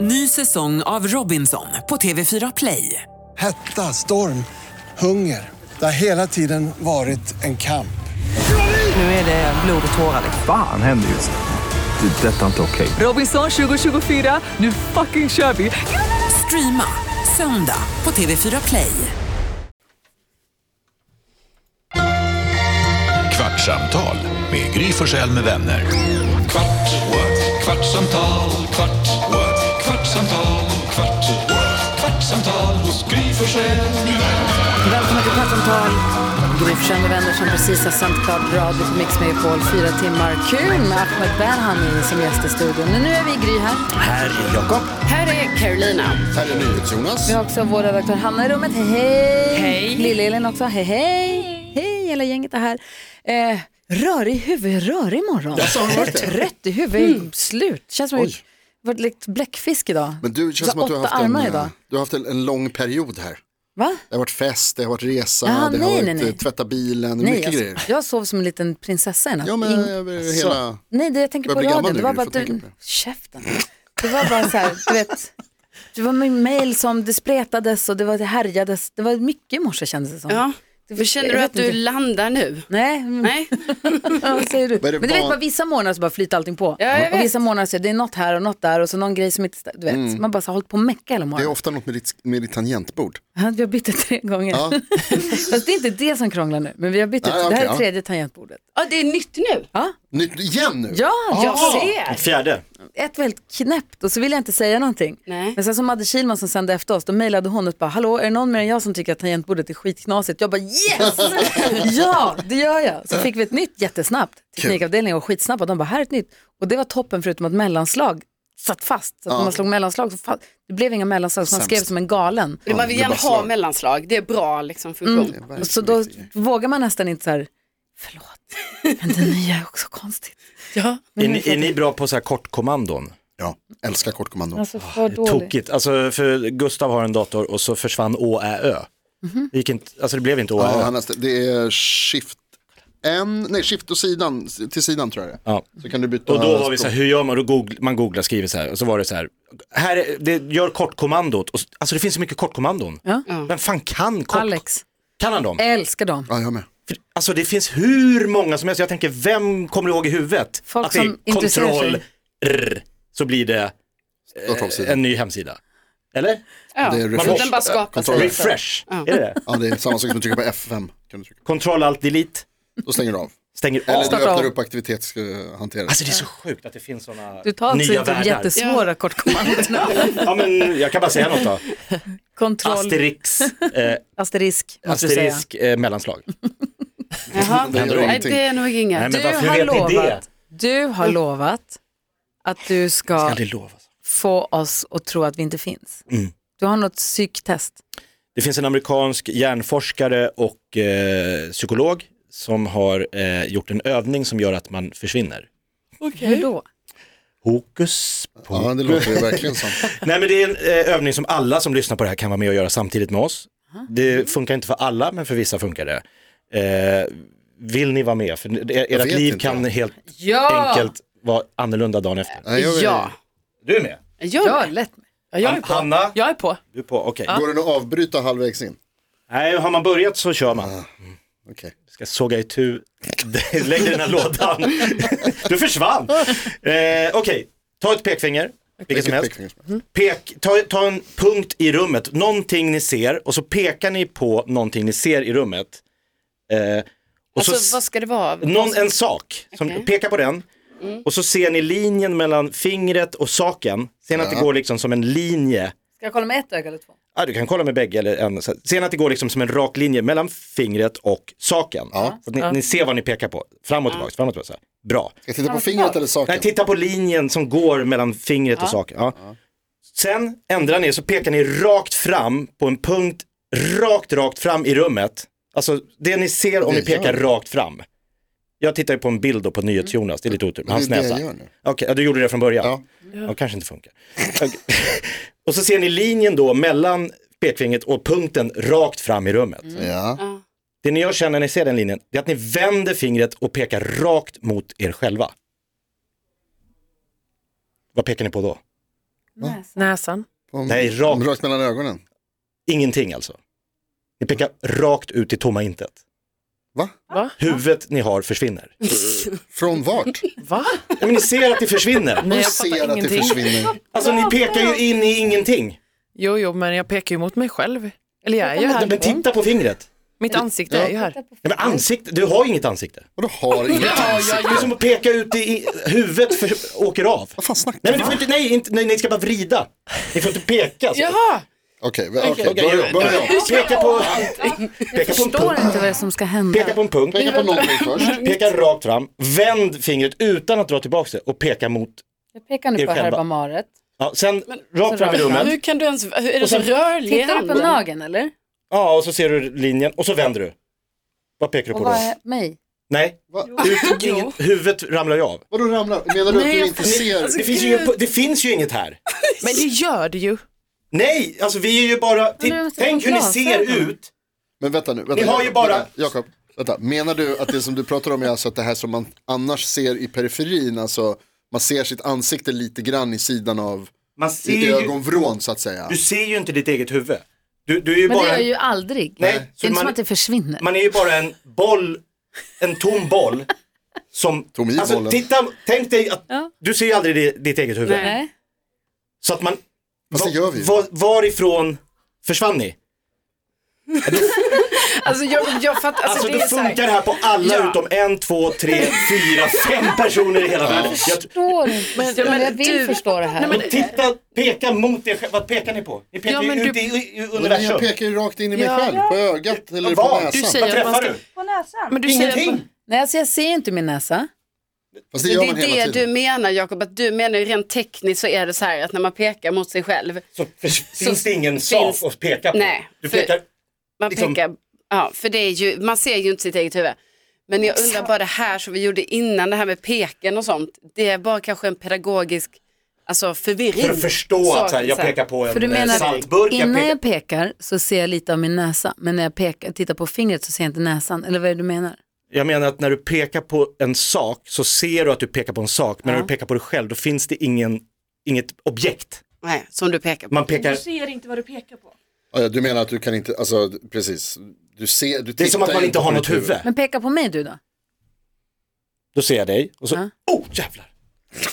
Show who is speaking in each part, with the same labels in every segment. Speaker 1: Ny säsong av Robinson på TV4 Play.
Speaker 2: Hetta, storm, hunger. Det har hela tiden varit en kamp.
Speaker 1: Nu är det blod och tårar. liksom.
Speaker 3: Fan händer just nu. Det. är Detta är inte okej.
Speaker 1: Robinson 2024, nu fucking kör vi! Streama söndag på TV4 Play.
Speaker 4: Kvartsamtal med Gry Forssell med vänner. Kvart, what? kvartsamtal, kvart, what? kvartsamtal, kvart, what? kvartsamtal hos Gry Forssell med vänner.
Speaker 5: Välkomna till Kvartsamtal.
Speaker 6: Mm.
Speaker 5: Gry Forssell med vänner som precis har sänt klart radio på Mix Megapol fyra timmar. Kul med Ahmed Berhan in som gäst i studion. Men nu är vi Gry här. Här är Jakob. Här är Carolina.
Speaker 2: Här är NyhetsJonas.
Speaker 5: Vi har också vår redaktör Hanna i rummet. Hej! Hej! Lill-Elin också. Hej, hej! Hej, hela gänget är här. Eh, rörig huvud, rörig imorgon.
Speaker 6: Jag sa det.
Speaker 5: Trött i huvudet, slut. Känns som att jag
Speaker 6: Oj.
Speaker 5: varit likt bläckfisk idag.
Speaker 6: Men du, det känns
Speaker 5: Så
Speaker 6: som att du har
Speaker 5: åtta
Speaker 6: haft, en,
Speaker 5: armar
Speaker 6: eh,
Speaker 5: idag.
Speaker 6: du har haft en, en lång period här.
Speaker 5: Va?
Speaker 6: Det har varit fest, det har varit resa,
Speaker 5: Ja,
Speaker 6: det
Speaker 5: nej,
Speaker 6: har varit
Speaker 5: nej, nej.
Speaker 6: eh, tvätta bilen, mycket
Speaker 5: jag,
Speaker 6: grejer.
Speaker 5: jag Alltså. sov som en liten prinsessa i natt.
Speaker 6: Ja, men
Speaker 5: Ing-
Speaker 6: eh, hela...
Speaker 5: Nej, det jag tänker
Speaker 6: Börjar
Speaker 5: på
Speaker 6: bli gammal
Speaker 5: radion.
Speaker 6: nu,
Speaker 5: Det var
Speaker 6: du
Speaker 5: bara
Speaker 6: får
Speaker 5: att du...
Speaker 6: tänka på
Speaker 5: Käften. Det var bara så här, du vet. Det var med mail som det spretades och det var det härjades. Det var mycket i morse kändes det som.
Speaker 7: Ja,
Speaker 5: Det-
Speaker 7: men känner
Speaker 5: jag
Speaker 7: du
Speaker 5: vet
Speaker 7: att du
Speaker 5: inte.
Speaker 7: landar nu?
Speaker 5: Nej, Nej.
Speaker 7: Nej,
Speaker 5: vad säger du?
Speaker 6: är
Speaker 5: Men
Speaker 6: det
Speaker 5: du vet
Speaker 6: van-
Speaker 5: bara vissa morgnader så bara flyter allting på.
Speaker 7: Ja, jag
Speaker 5: och
Speaker 7: vet.
Speaker 5: vissa morgnader så är det något här och något där och så någon grej som inte, stä- du vet.
Speaker 6: Mm.
Speaker 5: Man bara så har hållit på och mecka hela
Speaker 6: Det är
Speaker 5: morgonen.
Speaker 6: ofta något med ditt, med ditt tangentbord.
Speaker 5: Ja, Vi har bytt det tre gånger. Fast det är inte det som krånglar nu, men vi har bytt det.
Speaker 6: Nej,
Speaker 5: det här
Speaker 6: okej,
Speaker 5: är
Speaker 6: ja.
Speaker 5: tredje tangentbordet.
Speaker 7: ja, det är nytt nu.
Speaker 6: Nu, igen nu?
Speaker 5: Ja, jag ser.
Speaker 8: Fjärde.
Speaker 5: ett var helt knäppt och så ville jag inte säga någonting.
Speaker 7: Nej.
Speaker 5: Men sen som Madde Kihlman som sände efter oss, då mejlade hon och bara, hallå är det någon mer än jag som tycker att tangentbordet är skitknasigt? Jag bara yes! ja, det gör jag. Så fick vi ett nytt jättesnabbt. Teknikavdelningen var skitsnabba, de bara, här är ett nytt. Och det var toppen förutom att mellanslag satt fast. Så att när man slog mellanslag, så fa- det blev inga mellanslag, så man skrev som en galen.
Speaker 7: Man vill
Speaker 6: det är
Speaker 7: gärna
Speaker 6: bara
Speaker 7: ha
Speaker 6: slag.
Speaker 7: mellanslag, det är bra liksom, funktion.
Speaker 5: Och så då vågar man nästan inte så här, förlåt, men det nya är också konstigt.
Speaker 7: Ja.
Speaker 8: Är ni, är ni bra på så här kortkommandon?
Speaker 6: Ja, älskar kortkommando.
Speaker 5: Alltså för dåligt.
Speaker 8: Tokigt. Alltså för Gustav har en dator och så försvann Å, Ä, Ö.
Speaker 5: Mhm.
Speaker 8: Det, gick inte, alltså det blev inte Å,
Speaker 6: Ja,
Speaker 8: Ä, Ö.
Speaker 6: han läste- det är shift en, nej shift och sidan, till sidan tror jag det är.
Speaker 8: Ja.
Speaker 6: Så kan du byta.
Speaker 8: Och då var vi så här, hur gör man? Då googl, man googlar, skriver så här. Och så var det så här, här är, det, gör kortkommandot. Och, s- alltså det finns så mycket kortkommandon.
Speaker 5: Ja.
Speaker 8: Vem fan kan kort?
Speaker 5: Alex,
Speaker 8: Kan han dem?
Speaker 5: älskar dem.
Speaker 6: Ja, jag med.
Speaker 8: För, alltså det finns hur många som helst. Jag tänker, vem kommer ihåg i huvudet?
Speaker 5: Folk
Speaker 8: att det är
Speaker 5: som intresserar sig.
Speaker 8: kontroll, rr, så blir det eh,
Speaker 6: Startavsidan.
Speaker 8: en ny hemsida. Eller?
Speaker 7: Ja.
Speaker 6: Det är
Speaker 7: Så
Speaker 6: refresh.
Speaker 7: den bara skapar sig.
Speaker 8: Refresh, är det det?
Speaker 6: Ja, det är samma sak som att trycka på F5. Kan du trycka.
Speaker 8: Control, alt, delete,
Speaker 6: Då stänger du av.
Speaker 8: stänger av.
Speaker 6: Eller du
Speaker 5: Starta
Speaker 6: öppnar
Speaker 5: av.
Speaker 6: upp aktivitetshanteringen.
Speaker 8: Alltså det är så sjukt att det finns sådana
Speaker 5: Du tar alltså
Speaker 8: nya
Speaker 5: inte de
Speaker 8: världar.
Speaker 5: jättesvåra kortkommandona.
Speaker 8: Ja men jag kan bara säga något då.
Speaker 5: Kontroll,
Speaker 8: Asterix, eh,
Speaker 5: asterisk. måste du säga.
Speaker 8: asterisk eh, mellanslag.
Speaker 7: Jaha.
Speaker 6: Det gör
Speaker 7: Nej,
Speaker 6: ingenting.
Speaker 7: det är nog inget.
Speaker 8: Nej, men
Speaker 5: Du
Speaker 8: varför
Speaker 5: har,
Speaker 8: vet ni det? Mm.
Speaker 5: lovat, du har lovat att du ska
Speaker 8: Aldrig Mm. lov, alltså.
Speaker 5: få oss att tro att vi inte finns. Du har något psyktest.
Speaker 8: Det finns en amerikansk hjärnforskare och eh, psykolog som har eh, gjort en övning som gör att man försvinner.
Speaker 5: Hur då?
Speaker 8: Hokus pokus.
Speaker 6: Ja, det låter ju verkligen som.
Speaker 8: Nej men det är en eh, övning som alla som lyssnar på det här kan vara med och göra samtidigt med oss. Det funkar inte för alla men för vissa funkar det. Eh, vill ni vara med? För er- ert
Speaker 6: vet
Speaker 8: liv
Speaker 6: inte.
Speaker 8: kan helt
Speaker 7: Ah.
Speaker 5: Ja!
Speaker 8: enkelt vara annorlunda dagen efter.
Speaker 6: Nej, jag-
Speaker 7: Ja,
Speaker 8: Du är med?
Speaker 7: gör
Speaker 5: Ja,
Speaker 7: det.
Speaker 5: lätt.
Speaker 8: Hanna?
Speaker 7: Jag är på.
Speaker 8: Du är på, okej.
Speaker 6: Går den att avbryta halvvägs in?
Speaker 8: Nej, har man börjat så kör man.
Speaker 6: Okej.
Speaker 8: ska såga itu lägg i den här lådan. du försvann. Eh, Okej, ta ett pekfinger, vilket som helst.
Speaker 6: Pekfingers.
Speaker 8: Pek, ta, ta en punkt i rummet, någonting ni ser och så pekar ni på någonting ni ser i rummet. Eh, och så s-
Speaker 7: Alltså vad ska det vara?
Speaker 8: någon, en sak, som,
Speaker 7: Okej. Mm.
Speaker 8: peka på den och så ser ni linjen mellan fingret och saken. Ser ni att det går liksom som en linje
Speaker 5: Ska jag kolla med ett öga eller två?
Speaker 8: Ja, du kan kolla med bägge eller en. Så- Sen att det går liksom som en rak linje mellan fingret och saken. Så att ni, ni ser vad ni pekar på. Fram och tillbaka, fram och tillbaka. Så här. Bra.
Speaker 6: Ska jag titta på fingret eller saken?
Speaker 8: Nej, titta på linjen som går mellan fingret och saken. Ja. Sen ändrar ni, så pekar ni rakt fram på en punkt, rakt, rakt fram i rummet. Alltså det ni ser om
Speaker 6: Det
Speaker 8: ni pekar
Speaker 6: gör
Speaker 8: rakt fram. Jag tittar ju på en bild då på NyhetsJonas, det är lite otur, men hans
Speaker 6: det är det
Speaker 8: näsa.
Speaker 6: jag gör nu.
Speaker 8: Okej, ja, du gjorde det från början.
Speaker 6: Ja.
Speaker 8: Ja, kanske inte funkar. Okej. och så ser ni linjen då mellan pekfingret och punkten rakt fram i rummet.
Speaker 6: Ja.
Speaker 8: Det ni gör sen när ni ser den linjen, det är att ni vänder fingret och pekar rakt mot er själva. Vad pekar ni på då?
Speaker 9: Näsan.
Speaker 6: Om,
Speaker 8: Nej, rakt.
Speaker 6: Rakt mellan ögonen.
Speaker 8: Ingenting alltså. Ni pekar rakt ut i tomma intet.
Speaker 6: Va?
Speaker 8: Huvudet ni har försvinner.
Speaker 6: Från vart?
Speaker 9: Va?
Speaker 8: Ja, Men ni ser att det försvinner.
Speaker 9: Nej,
Speaker 6: Du
Speaker 9: jag fattar
Speaker 6: ser att det
Speaker 9: ingenting.
Speaker 6: försvinner.
Speaker 8: Alltså ni pekar ju in i ingenting.
Speaker 9: Jo, jo, men jag pekar ju mot mig själv. Eller jag är ju här.
Speaker 8: Men titta på fingret.
Speaker 9: Mitt ansikte är ju här.
Speaker 8: Nej, men ansikte, du har ju inget ansikte.
Speaker 6: Och du har inget ansikte.
Speaker 8: Det är som att peka ut i, i huvudet för, åker av.
Speaker 6: Vad fan snackar
Speaker 8: Nej men du får inte, nej, inte, nej, ni ska bara vrida. Ni får inte peka. Så.
Speaker 7: Jaha!
Speaker 6: Okej, okay, okay,
Speaker 8: Okej,
Speaker 6: börja, börja om.
Speaker 8: Peka på, peka på en
Speaker 5: Förstår
Speaker 8: punkt.
Speaker 5: inte vad det är som ska hända.
Speaker 8: Peka på en punkt.
Speaker 6: Peka på någonting först.
Speaker 8: Peka rakt fram, vänd fingret utan att dra tillbaka det och peka mot,
Speaker 5: Jag pekar nu
Speaker 8: er
Speaker 5: på
Speaker 8: själva.
Speaker 5: herbamaret.
Speaker 8: ja, sen rakt fram i rummet,
Speaker 7: Hur kan du ens, hur är det
Speaker 8: sen-
Speaker 7: så rörlig i
Speaker 5: Tittar du på
Speaker 7: handen?
Speaker 5: nageln eller?
Speaker 8: ja och så ser du linjen och så vänder du. Vad pekar du
Speaker 5: Och
Speaker 8: på
Speaker 5: vad
Speaker 8: då?
Speaker 5: är mig?
Speaker 8: Nej,
Speaker 6: Va?
Speaker 8: ut, inget, huvudet ramlar ju av.
Speaker 6: Vadå ramlar? Menar du att du inte ser?
Speaker 8: alltså, Det finns, ju, det finns ju inget här.
Speaker 9: Men det gör det ju.
Speaker 8: Nej, alltså vi är ju bara,
Speaker 5: Men jag måste
Speaker 8: tänk
Speaker 5: få
Speaker 8: hur ni ser
Speaker 5: glasögon.
Speaker 8: ut.
Speaker 6: Men vänta nu. Vänta,
Speaker 8: Ni har ju bara-
Speaker 6: Vänta, Jakob, vänta. Menar du att det som du pratar om är alltså att det här som man annars ser i periferin, alltså man ser sitt ansikte lite grann i sidan av,
Speaker 8: Man
Speaker 6: i
Speaker 8: ser ju,
Speaker 6: ögonvrån så att säga.
Speaker 8: du ser ju inte ditt eget huvud. Du, du är ju
Speaker 5: Men det
Speaker 8: bara,
Speaker 5: gör jag ju aldrig.
Speaker 8: Nej,
Speaker 5: det
Speaker 8: så
Speaker 5: är inte
Speaker 8: man-
Speaker 5: som att det försvinner.
Speaker 8: man är ju bara en boll, en tom boll. Som,
Speaker 6: Tom i
Speaker 8: alltså,
Speaker 6: bollen.
Speaker 8: titta, tänk dig att
Speaker 5: Ja.
Speaker 8: du ser ju aldrig di- ditt eget huvud.
Speaker 7: Nej.
Speaker 5: Nej.
Speaker 8: Så att man,
Speaker 6: Fast det gör vi ju.
Speaker 8: var, varifrån försvann ni?
Speaker 7: Alltså jag, jag fattar, alltså,
Speaker 8: Alltså
Speaker 7: det
Speaker 8: det
Speaker 7: är så
Speaker 8: funkar
Speaker 7: här,
Speaker 8: det här på alla
Speaker 7: Ja.
Speaker 8: utom en, två, tre, fyra, fem personer i hela världen. Jag,
Speaker 5: Förstår inte. Men, jag vill
Speaker 9: du-
Speaker 5: förstå det här.
Speaker 8: och titta, peka mot er själva, vad pekar ni på? Ni pekar
Speaker 9: Ja,
Speaker 8: ju
Speaker 9: men
Speaker 8: ut
Speaker 9: du-
Speaker 8: i, i i
Speaker 6: Nej, men
Speaker 8: universum.
Speaker 6: jag pekar ju rakt in i mig
Speaker 9: Ja.
Speaker 6: själv, på ögat eller på
Speaker 8: Vad?
Speaker 6: näsan.
Speaker 9: Du
Speaker 8: Vad
Speaker 9: säger att man
Speaker 8: träffar
Speaker 9: ska...
Speaker 8: du?
Speaker 9: Men du säger att
Speaker 8: Ingenting.
Speaker 9: man...
Speaker 5: Nej, alltså jag ser inte min näsa.
Speaker 6: Fast det
Speaker 7: det
Speaker 6: gör man
Speaker 7: är
Speaker 6: hela
Speaker 7: det du
Speaker 6: tiden.
Speaker 7: menar Jakob, att du menar ju rent tekniskt så är det så här att när man pekar mot sig själv,
Speaker 8: Så förs- finns det ingen
Speaker 7: finns-
Speaker 8: sak att peka på.
Speaker 7: Nej,
Speaker 8: du
Speaker 7: för-
Speaker 8: pekar,
Speaker 7: man
Speaker 8: Liksom-
Speaker 7: pekar, ja för det är ju, man ser ju inte sitt eget huvud. Men jag undrar bara det här som vi gjorde innan, det här med peken och sånt, det är bara kanske en pedagogisk alltså, förvirring.
Speaker 8: för att förstå att så här, jag pekar på en
Speaker 5: För du
Speaker 8: eh,
Speaker 5: menar,
Speaker 8: saltburk. Jag
Speaker 5: innan
Speaker 8: pekar,
Speaker 5: jag pekar så ser jag lite av min näsa. Men när jag pekar, tittar på fingret så ser jag inte näsan. Eller vad är det du menar?
Speaker 8: jag menar att när du pekar på en sak så ser du att du pekar på en sak. Men när du pekar på dig själv då finns det ingen, inget objekt.
Speaker 7: Nej, som du pekar på.
Speaker 8: Man pekar,
Speaker 6: Ja, du menar att du kan inte, alltså precis. Du ser, du
Speaker 8: det är som att man typ inte har något huvud.
Speaker 5: Men peka på mig du då.
Speaker 8: Då ser jag dig och så,
Speaker 5: Ja.
Speaker 8: oh jävlar.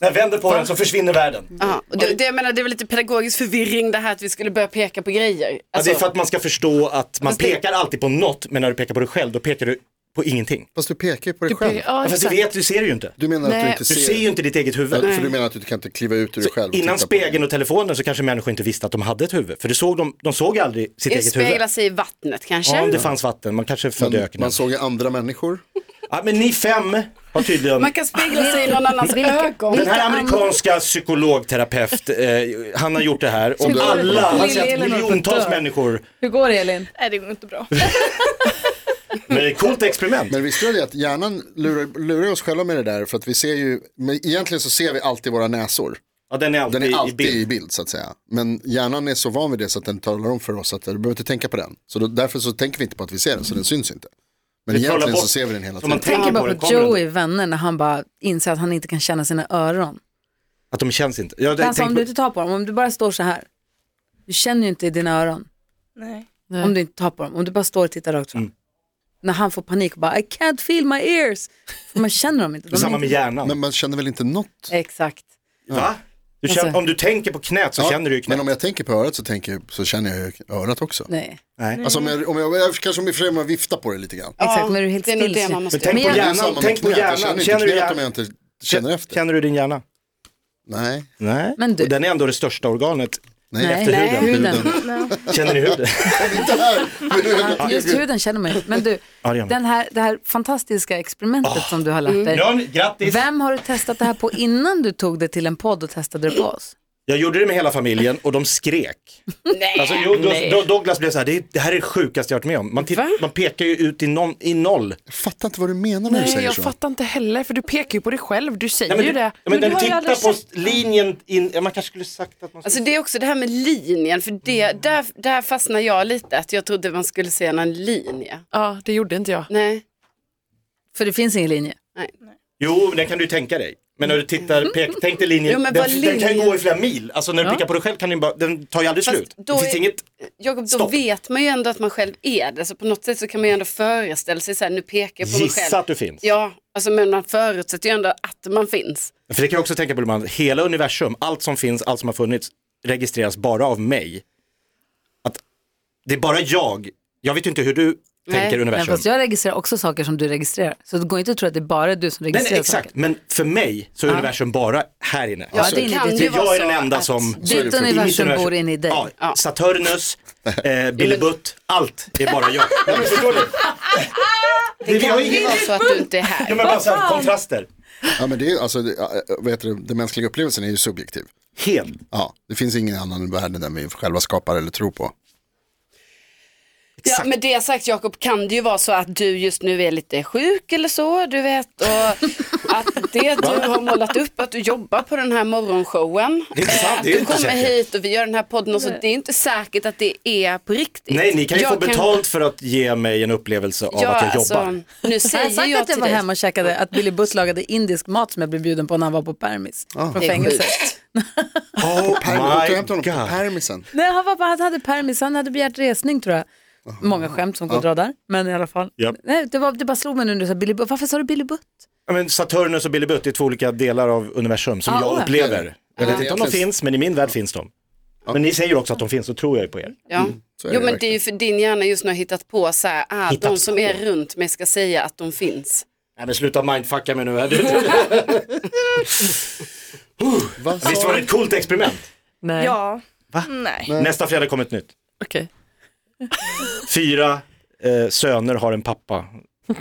Speaker 8: När jag vänder på den så försvinner världen.
Speaker 7: Ja, och det, det, jag menar, det är väl lite pedagogisk förvirring det här att vi skulle börja peka på grejer.
Speaker 8: Ja,
Speaker 7: Alltså,
Speaker 8: det är för att man ska förstå att man
Speaker 7: Fast det-
Speaker 8: pekar alltid på något, men när du pekar på dig själv då pekar du på ingenting.
Speaker 6: Fast du pekar ju på dig
Speaker 9: Du
Speaker 6: själv.
Speaker 9: pe- ja,
Speaker 8: Ja, fast du
Speaker 9: exakt.
Speaker 8: vet, du ser ju inte.
Speaker 6: Du menar att du
Speaker 9: Nej.
Speaker 6: inte
Speaker 8: Du ser ju
Speaker 6: ser.
Speaker 8: inte ditt eget huvud.
Speaker 6: För du menar att du kan inte kliva ut ur dig själv. och
Speaker 8: Innan
Speaker 6: titta på det.
Speaker 8: spegeln och telefonen så kanske människor inte visste att de hade ett huvud. För det såg de, de såg aldrig sitt
Speaker 7: det
Speaker 8: eget huvud.
Speaker 7: speglar sig i vattnet kanske.
Speaker 8: Ja, om det fanns vatten, man kanske födde i
Speaker 6: Men
Speaker 8: öknen.
Speaker 6: man såg ju andra människor.
Speaker 8: Ja, men ni fem har tydligen,
Speaker 7: Man kan spegla sig i någon annans ögon.
Speaker 8: den här amerikanska psykologterapeut, eh, han har gjort det här. Och
Speaker 6: du-
Speaker 8: alla, han säger att
Speaker 5: Lille Elinor
Speaker 8: miljontals
Speaker 5: dör.
Speaker 8: människor,
Speaker 5: Hur går det Elin?
Speaker 10: Nej, det går inte bra.
Speaker 8: men det är ett coolt experiment.
Speaker 6: Men visste du det att hjärnan lurar, lurar oss själva med det där för att vi ser ju, men egentligen så ser vi alltid våra näsor.
Speaker 8: Ja, den är alltid,
Speaker 6: Den är
Speaker 8: i
Speaker 6: alltid
Speaker 8: bild.
Speaker 6: i bild så att säga. Men hjärnan är så van vid det så att den talar om för oss att du behöver inte tänka på den. Så då, därför så tänker vi inte på att vi ser den så den syns inte. Men
Speaker 8: Vi trollar
Speaker 6: egentligen så
Speaker 8: bort.
Speaker 6: ser vi den hela
Speaker 8: Så
Speaker 6: tiden.
Speaker 8: man
Speaker 5: Jag
Speaker 8: tänker
Speaker 5: tänker
Speaker 8: på
Speaker 5: bara
Speaker 8: den,
Speaker 5: på
Speaker 8: kommer den.
Speaker 5: Joey, vänner, när han bara inser att han inte kan känna sina öron.
Speaker 8: Att de känns inte. Ja, det,
Speaker 5: Alltså
Speaker 8: tänk
Speaker 5: om
Speaker 8: på-
Speaker 5: du inte tar på dem, om du bara står så här. Du känner ju inte i dina öron.
Speaker 10: Nej.
Speaker 5: Om du inte tar på dem, om du bara står och tittar rakt
Speaker 8: Mm.
Speaker 5: fram. När han får panik och bara I can't feel my ears. För man känner dem inte. De är
Speaker 8: Samma
Speaker 5: inte...
Speaker 8: med hjärnan.
Speaker 6: Men man känner väl inte något?
Speaker 5: Exakt.
Speaker 8: Va? Du känner,
Speaker 5: Alltså-
Speaker 8: om du tänker på knät så
Speaker 6: Ja,
Speaker 8: känner du ju knät.
Speaker 6: Men om jag tänker på örat så, tänker, jag- så känner jag ju örat också.
Speaker 5: Nej.
Speaker 8: Nej.
Speaker 6: Alltså om jag, om jag, jag kanske om jag, om jag viftar på det lite grann.
Speaker 5: Exakt, men du är helt
Speaker 7: det är nog
Speaker 5: still.
Speaker 7: det man
Speaker 5: så-
Speaker 7: måste
Speaker 8: Men tänk
Speaker 5: Men
Speaker 8: på
Speaker 5: jag-
Speaker 8: hjärnan, tänk på
Speaker 6: Jag känner
Speaker 8: hjärnan.
Speaker 6: inte
Speaker 8: Känner du
Speaker 6: knät om jag
Speaker 8: hjärnan?
Speaker 6: inte känner efter.
Speaker 8: Känner du din hjärna?
Speaker 6: Nej,
Speaker 8: Nej.
Speaker 5: Men du-
Speaker 8: Och den är ändå det största organet.
Speaker 6: nej,
Speaker 5: Nej.
Speaker 6: efter huden.
Speaker 5: Nej,
Speaker 6: huden.
Speaker 5: huden.
Speaker 8: Känner ni huden?
Speaker 6: Inte här, men huden.
Speaker 5: Ja, Just huden känner man ju. Men du,
Speaker 8: Ja, det gör man. Ah.
Speaker 5: den här, det här fantastiska experimentet som du har lärt dig.
Speaker 8: Ja, grattis!
Speaker 5: Vem har du testat det här på innan du tog det till en podd och testade det på oss?
Speaker 8: Jag gjorde det med hela familjen och de skrek. Nej, alltså, jo, då- då- Douglas blev så här, det, är, det här är det sjukaste jag varit med om. Man, titt, man pekar ju ut i, någon, i noll.
Speaker 6: Jag fattar inte vad du menar när du
Speaker 9: Nej,
Speaker 6: säger
Speaker 9: jag
Speaker 6: så.
Speaker 9: fattar inte heller, för du pekar ju på dig själv. Du säger
Speaker 8: men,
Speaker 9: ju
Speaker 8: ja,
Speaker 9: det.
Speaker 8: men, den tittar på linjen in, ja, man kanske skulle sagt att man skulle...
Speaker 7: Alltså det är också det här med linjen, för det, där, där fastnar jag lite, att jag trodde man skulle se en linje.
Speaker 9: Ja, det gjorde inte jag.
Speaker 7: Nej,
Speaker 5: För det finns ingen linje.
Speaker 8: Jo, den kan du ju tänka dig. Men när du tittar, pek, tänk dig linjen,
Speaker 7: Mm. Jo, men
Speaker 8: den,
Speaker 7: vad
Speaker 8: den kan ju
Speaker 7: linjen-
Speaker 8: gå i flera mil. Alltså när du blickar på dig själv kan den bara, den tar ju aldrig
Speaker 7: Fast
Speaker 8: slut.
Speaker 7: då
Speaker 8: Det finns
Speaker 7: är-
Speaker 8: inget,
Speaker 7: Jakob, då
Speaker 8: Stopp.
Speaker 7: vet man ju ändå att man själv är det. Så på något sätt så kan man ju ändå föreställa sig så här, nu pekar jag på mig
Speaker 8: gissa
Speaker 7: själv.
Speaker 8: att du finns.
Speaker 7: Ja, alltså, men man förutsätter ju ändå att man finns.
Speaker 8: För det kan jag också tänka på ibland, hela universum, allt som finns, allt som har funnits registreras bara av mig. Att det är bara jag, jag vet ju inte hur du tänker
Speaker 5: Men
Speaker 8: universum.
Speaker 5: fast jag registrerar också saker som du registrerar. Så det går inte att tro att det är bara du som
Speaker 8: Nej,
Speaker 5: registrerar
Speaker 8: nej, exakt,
Speaker 5: saker.
Speaker 8: men för mig så är universum bara här inne. Alltså,
Speaker 5: Ja, det är
Speaker 7: kan
Speaker 5: inte
Speaker 7: ju
Speaker 5: ditt,
Speaker 8: jag
Speaker 7: vara
Speaker 8: är den
Speaker 7: så
Speaker 8: enda
Speaker 7: att-
Speaker 8: som...
Speaker 6: så är det
Speaker 5: ditt
Speaker 6: för- i mitt
Speaker 5: universum
Speaker 8: universum.
Speaker 5: bor in i dig.
Speaker 8: Ja, Saturnus, eh, Billybutt, allt är bara jag. Ja, men förstår du? Det, vi har
Speaker 7: Det kan
Speaker 8: ingen...
Speaker 7: vara så att du inte är
Speaker 8: Ja,
Speaker 7: här.
Speaker 8: men bara så här, kontraster.
Speaker 6: Ja, men det, är, alltså, det, äh, vad heter det, den mänskliga upplevelsen är ju subjektiv.
Speaker 8: Helt.
Speaker 6: Ja, det finns ingen annan värld än den vi själva skapar eller tror på.
Speaker 7: Ja,
Speaker 8: Exakt.
Speaker 7: med det sagt Jakob, kan det ju vara så att du just nu är lite sjuk eller så, du vet. Och att det du har målat upp, att du jobbar på den här morgonshowen.
Speaker 8: Det är inte sant, det är
Speaker 7: Du
Speaker 8: inte
Speaker 7: kommer
Speaker 8: säkert.
Speaker 7: hit och vi gör den här podden och så, det är inte säkert att det är på riktigt.
Speaker 8: Nej, ni kan ju
Speaker 7: Jag alltså,
Speaker 8: få betalt för att ge mig en upplevelse av att jag
Speaker 5: alltså,
Speaker 8: jobbar.
Speaker 7: nu
Speaker 5: Jag har
Speaker 7: säger
Speaker 5: sagt
Speaker 7: jag
Speaker 5: att jag
Speaker 7: till
Speaker 5: var
Speaker 7: dig.
Speaker 5: hemma och käkade, att Billy Butt lagade indisk mat som jag blev bjuden på när han var på permis från
Speaker 8: Ah.
Speaker 7: Det är
Speaker 5: fängelset.
Speaker 7: sjukt.
Speaker 8: Oh
Speaker 6: Permis, du tar
Speaker 8: my
Speaker 6: hem honom på
Speaker 8: god.
Speaker 6: permisen.
Speaker 5: Nej, han, var bara, han hade permis, han hade begärt resning tror jag. Många skämt som går att dra där, men i alla fall.
Speaker 8: Japp.
Speaker 5: Nej, det, var, det bara slog mig nu, när du sa Billy Butt. varför sa du Billy Butt?
Speaker 8: Ja, men Saturnus och Billybutt är två olika delar av universum som
Speaker 5: Ja,
Speaker 8: jag
Speaker 5: oj.
Speaker 8: upplever. Jag vet inte om de
Speaker 6: Egentligen-
Speaker 8: finns, men i min värld finns de. Men ni säger också att de finns, så tror jag ju på er.
Speaker 7: Ja.
Speaker 6: så är
Speaker 7: Jo
Speaker 6: det
Speaker 7: men det är ju för din hjärna just nu har hittat på så här, ah,
Speaker 8: Hittat
Speaker 7: de som
Speaker 8: på.
Speaker 7: är runt mig ska säga att de finns.
Speaker 8: Nej men sluta mindfucka mig nu. här. Det-
Speaker 6: Vad
Speaker 8: Visst var det ett coolt experiment?
Speaker 9: Nej.
Speaker 10: Ja. Nej.
Speaker 8: Nästa fredag kommer ett nytt.
Speaker 9: Okej.
Speaker 8: Fyra eh, söner har en pappa.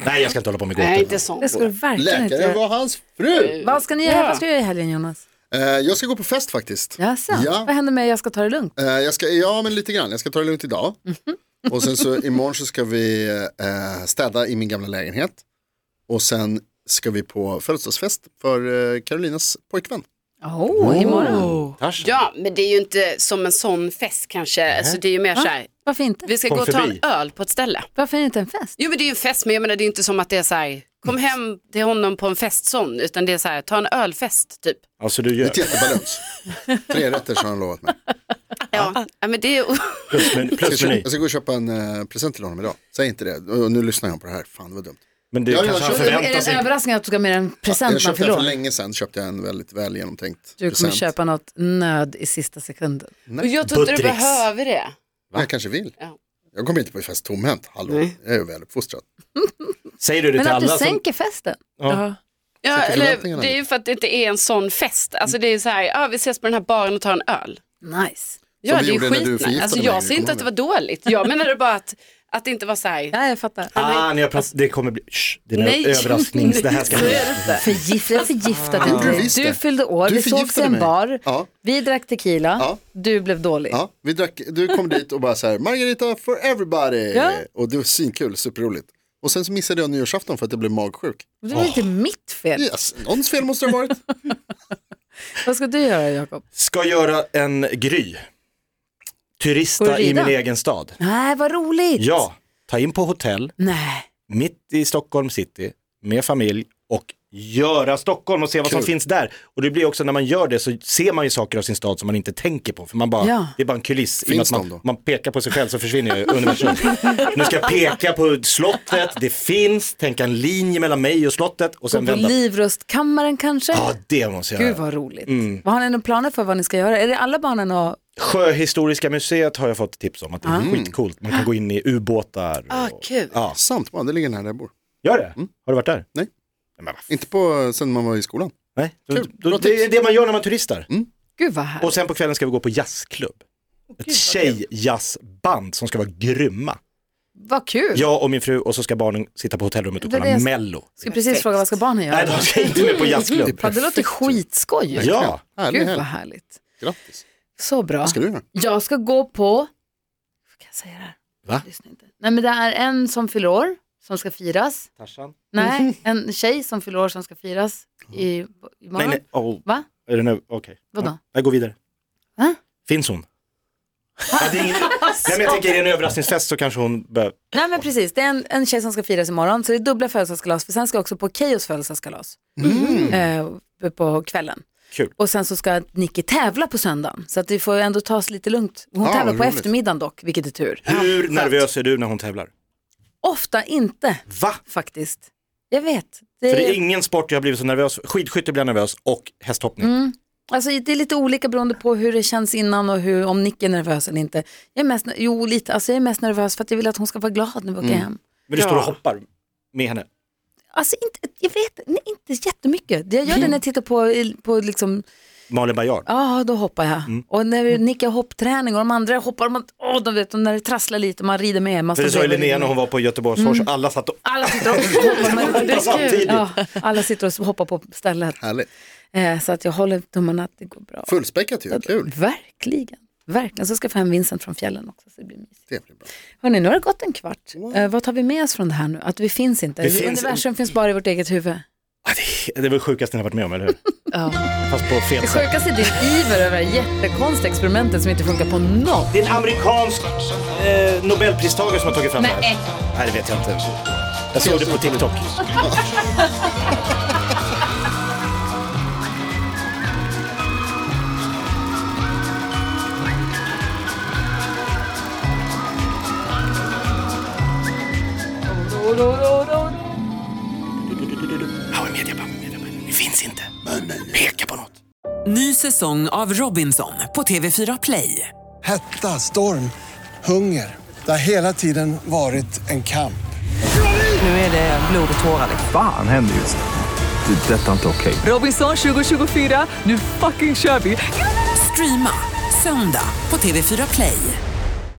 Speaker 8: Nej jag ska inte hålla på med
Speaker 7: Nej
Speaker 8: gåtor.
Speaker 7: inte sånt.
Speaker 5: Det ska du verkligen inte
Speaker 6: Läkaren
Speaker 5: göra.
Speaker 6: var hans fru.
Speaker 5: Vad ska ni göra, vad ska du göra i helgen Jonas?
Speaker 6: Eh, jag ska gå på fest faktiskt.
Speaker 5: Jaså?
Speaker 6: Ja.
Speaker 5: Vad händer med Jag ska ta det lugnt?
Speaker 6: Eh, jag ska, ja, men lite grann. Jag ska ta det lugnt idag.
Speaker 5: Mhm.
Speaker 6: Och sen så imorgon så ska vi eh, städa i min gamla lägenhet. Och sen ska vi på födelsedagsfest för eh, Carolinas pojkvän.
Speaker 5: Åh, oh, imorgon.
Speaker 7: Ja men det är ju inte som en sån fest kanske, alltså, det är ju mer så här,
Speaker 5: Varför inte?
Speaker 7: vi ska
Speaker 8: Kom
Speaker 7: gå och ta
Speaker 8: förbi.
Speaker 7: en öl på ett ställe.
Speaker 5: Varför är det inte en fest?
Speaker 7: Jo men det är ju en fest men jag menar det är ju inte som att det är så här, kom hem till honom på en fest sån, utan det är så här, ta en ölfest typ.
Speaker 8: Alltså du gör.
Speaker 6: Ett jättebalans. Tre rätter så har han lovat mig.
Speaker 7: Ja, ja men det är
Speaker 8: Plus, men,
Speaker 6: Jag
Speaker 8: plus
Speaker 6: ska,
Speaker 8: meny.
Speaker 6: jag ska gå och köpa en eh, present till honom idag. Säg inte det. Och nu lyssnar han på det här. Fan det var dumt.
Speaker 8: Men det
Speaker 6: Ja,
Speaker 8: kanske han
Speaker 6: jag-
Speaker 5: Är
Speaker 8: förväntar
Speaker 5: det en
Speaker 8: sig.
Speaker 5: överraskning att du ska med en
Speaker 6: Jag
Speaker 5: present man
Speaker 6: köpte den för
Speaker 5: förlorar?
Speaker 6: länge sedan. Köpte jag en väldigt väl genomtänkt
Speaker 5: Du kommer
Speaker 6: present.
Speaker 5: köpa något nöd i sista sekunden.
Speaker 7: Och jag tror inte du
Speaker 8: Buttricks.
Speaker 7: behöver det.
Speaker 6: Men Jag kanske vill.
Speaker 7: Ja.
Speaker 6: Jag kommer inte på fest tomhänt. Hallå, jag är ju väluppfostrad.
Speaker 8: Säger du det
Speaker 5: Men
Speaker 8: till
Speaker 5: att du
Speaker 8: alla? Som,
Speaker 5: sänker festen.
Speaker 9: Ja.
Speaker 7: Ja,
Speaker 6: Sätter
Speaker 7: eller,
Speaker 6: förväntningarna
Speaker 7: det är ju för att det inte är en sån fest. Alltså det är så här, ja, vi ses på den här baren och tar en öl.
Speaker 5: Nice.
Speaker 7: Ja,
Speaker 6: vi
Speaker 7: det är ju
Speaker 6: gjorde när du
Speaker 7: skitnice.
Speaker 6: förgiftade
Speaker 7: Alltså
Speaker 6: mig,
Speaker 7: jag ser
Speaker 6: kommer
Speaker 7: inte
Speaker 6: du
Speaker 7: att det var dåligt. Jag menade bara att, att det inte var så här.
Speaker 5: Ja, jag fattar.
Speaker 8: ah, ni har pratat, det kommer bli, shh, det är en
Speaker 7: Nej.
Speaker 8: överrasknings, det här ska bli.
Speaker 5: Förgift, jag förgiftade
Speaker 6: Gjorde du
Speaker 5: dig.
Speaker 6: visst
Speaker 5: Du
Speaker 6: det.
Speaker 5: fyllde år,
Speaker 6: Du
Speaker 5: vi sågs i
Speaker 6: förgiftade
Speaker 5: en
Speaker 6: mig.
Speaker 5: bar,
Speaker 6: Ja.
Speaker 5: vi drack tequila,
Speaker 6: Ja.
Speaker 5: du blev dålig.
Speaker 6: Ja, vi drack, du kom dit och bara så här, Margarita for everybody.
Speaker 5: Ja.
Speaker 6: Och det var svinkul, superroligt. Och sen så missade jag nyårsafton för att jag blev magsjuk.
Speaker 5: Det var inte mitt fel.
Speaker 6: Yes, någons fel måste det ha varit.
Speaker 5: Vad ska du göra Jakob?
Speaker 8: Ska göra en gry.
Speaker 5: Går du
Speaker 8: Turista i
Speaker 5: rida?
Speaker 8: min egen stad.
Speaker 5: Nej, vad roligt.
Speaker 8: Ja, ta in på hotell.
Speaker 5: Nej.
Speaker 8: mitt i Stockholm city med familj och göra Stockholm och se vad som
Speaker 6: Kul.
Speaker 8: finns där. Och det blir också när man gör det så ser man ju saker av sin stad som man inte tänker på. För man bara,
Speaker 5: Ja.
Speaker 8: Det är bara en kuliss. I och med
Speaker 6: Finns
Speaker 8: att man,
Speaker 6: de då?
Speaker 8: man pekar på sig själv så försvinner ju universum. nu ska jag peka på slottet, det finns, tänka en linje mellan mig och slottet och sen
Speaker 5: Gå på
Speaker 8: vända.
Speaker 5: livrustkammaren kanske?
Speaker 8: Ja, det måste jag Mm.
Speaker 5: Gud
Speaker 8: göra.
Speaker 5: vad roligt. Vad har ni några planer för vad ni ska göra? Är det alla barnen och...
Speaker 8: Sjöhistoriska museet har jag fått tips om att
Speaker 5: Ah.
Speaker 8: det är
Speaker 5: Mm.
Speaker 8: skitcoolt. Man kan gå in i ubåtar. Och...
Speaker 7: Ah, kul.
Speaker 8: Ja.
Speaker 6: Sant man, det ligger nära där jag bor.
Speaker 8: Gör det? Har du varit där?
Speaker 6: Mm. Nej.
Speaker 8: Nej, men vad fan.
Speaker 6: Inte på sen man var i skolan.
Speaker 8: Nej. Då,
Speaker 6: Kul.
Speaker 8: då,
Speaker 6: Bra
Speaker 8: det är
Speaker 6: tips.
Speaker 8: det man gör när man turistar.
Speaker 5: Gud vad härligt.
Speaker 8: Och sen på kvällen ska vi gå på jazzklubb. Ett tjejjazzband som ska vara grymma.
Speaker 5: Vad kul.
Speaker 8: Jag och min fru och så ska barnen sitta på hotellrummet och
Speaker 5: Det är
Speaker 8: kolla
Speaker 5: det-
Speaker 8: mello.
Speaker 5: Jag ska precis fråga vad ska barnen göra?
Speaker 8: Nej, de ska inte med på jazzklubb.
Speaker 5: Ja, det låter skitskoj.
Speaker 8: Ja,
Speaker 6: Härlig
Speaker 5: Gud vad
Speaker 6: helg,
Speaker 5: härligt.
Speaker 6: grattis.
Speaker 5: Så bra.
Speaker 6: Vad ska du göra?
Speaker 5: Jag ska gå på, kan jag säga det här?
Speaker 8: Va?
Speaker 5: Lyssna inte. Nej men det är en som fyller år som ska firas. Nej, en tjej som fyller år som ska firas i,
Speaker 8: Mm. Nej,
Speaker 5: imorgon.
Speaker 8: nej. Oh,
Speaker 5: Va?
Speaker 8: är det nu? Okej.
Speaker 5: Vadå?
Speaker 8: Jag går vidare.
Speaker 5: Va?
Speaker 8: Finns hon? Ja, det är ingen... Nej, men jag tänker är det en överraskningsfest så kanske hon behöver...
Speaker 5: Nej men precis, det är en, en tjej som ska firas imorgon så det är dubbla födelsedagskalas för sen ska också på Keyyos födelsedagskalas eh, på kvällen.
Speaker 8: Mm. Kul.
Speaker 5: Och sen så ska Nicky tävla på söndagen så att vi får ändå ta oss lite lugnt.
Speaker 8: Ah,
Speaker 5: Hon
Speaker 6: Ja,
Speaker 5: tävlar
Speaker 6: vad
Speaker 5: på
Speaker 6: roligt.
Speaker 5: eftermiddagen dock, vilket är tur.
Speaker 8: Hur nervös är du när hon tävlar?
Speaker 5: Ofta inte
Speaker 8: Va?
Speaker 5: faktiskt. Jag vet.
Speaker 8: För det är ingen sport jag har blivit så nervös för. Skidskytte blir jag nervös och hästhoppning.
Speaker 5: Alltså det är lite olika beroende på hur det känns innan och hur, om Nick är nervös eller inte. Jag är mest, jo, lite, alltså jag är mest nervös för att jag vill att hon ska vara glad när vi åker
Speaker 8: Mm.
Speaker 5: hem.
Speaker 8: Men du står och hoppar med henne.
Speaker 5: Alltså inte, jag vet nej, inte jättemycket. Jag gör det
Speaker 8: Mm.
Speaker 5: när jag tittar på, på liksom,
Speaker 8: Malin Baryard.
Speaker 5: ja då hoppar jag.
Speaker 8: Mm.
Speaker 5: Och när vi- Nick har hoppträning och de andra hoppar, man, åh, de vet, och när det trasslar lite, man rider med. Man
Speaker 8: För det
Speaker 5: står
Speaker 8: sa ju
Speaker 5: bredvid och
Speaker 8: Linnea
Speaker 5: rider
Speaker 8: när hon
Speaker 5: med.
Speaker 8: var på Göteborgsfors, alla satt och...
Speaker 5: Mm. alla sitter och hoppar, man,
Speaker 8: Det är samtidigt.
Speaker 5: ja, alla sitter och hoppar på stället.
Speaker 6: Härligt.
Speaker 5: Eh, så att jag håller tummarna att det går bra.
Speaker 6: Fullspäckat ju, kul.
Speaker 5: Verkligen. Verkligen. Så ska jag få hem Vincent från fjällen också. Så det blir mysigt.
Speaker 6: Det blir bra.
Speaker 5: Hörni, nu har det gått en kvart. Eh, vad tar vi med oss från det här nu? Att vi finns inte.
Speaker 8: Det finns
Speaker 5: Universum finns bara i vårt eget huvud.
Speaker 8: Ah, det- Det var det sjukaste ni har varit med om, eller hur?
Speaker 5: Ja.
Speaker 8: Fast på fel
Speaker 5: Det
Speaker 8: sätt.
Speaker 5: sjukaste är din iver över det här jättekonstiga experimentet som inte funkar på något.
Speaker 8: Det är en amerikansk eh, nobelpristagare som har tagit fram det här. Nej, det vet jag inte. Jag såg det på TikTok. Power media, power media. Det finns inte. Peka på något.
Speaker 1: Ny säsong av Robinson på TV4 Play.
Speaker 2: Hetta, storm, hunger. Det har hela tiden varit en kamp.
Speaker 1: Nu är det blod och tårar. liksom.
Speaker 3: Fan händer just det. Det är detta inte okej.
Speaker 1: Robinson 2024, nu fucking kör vi! Streama söndag på TV4 Play.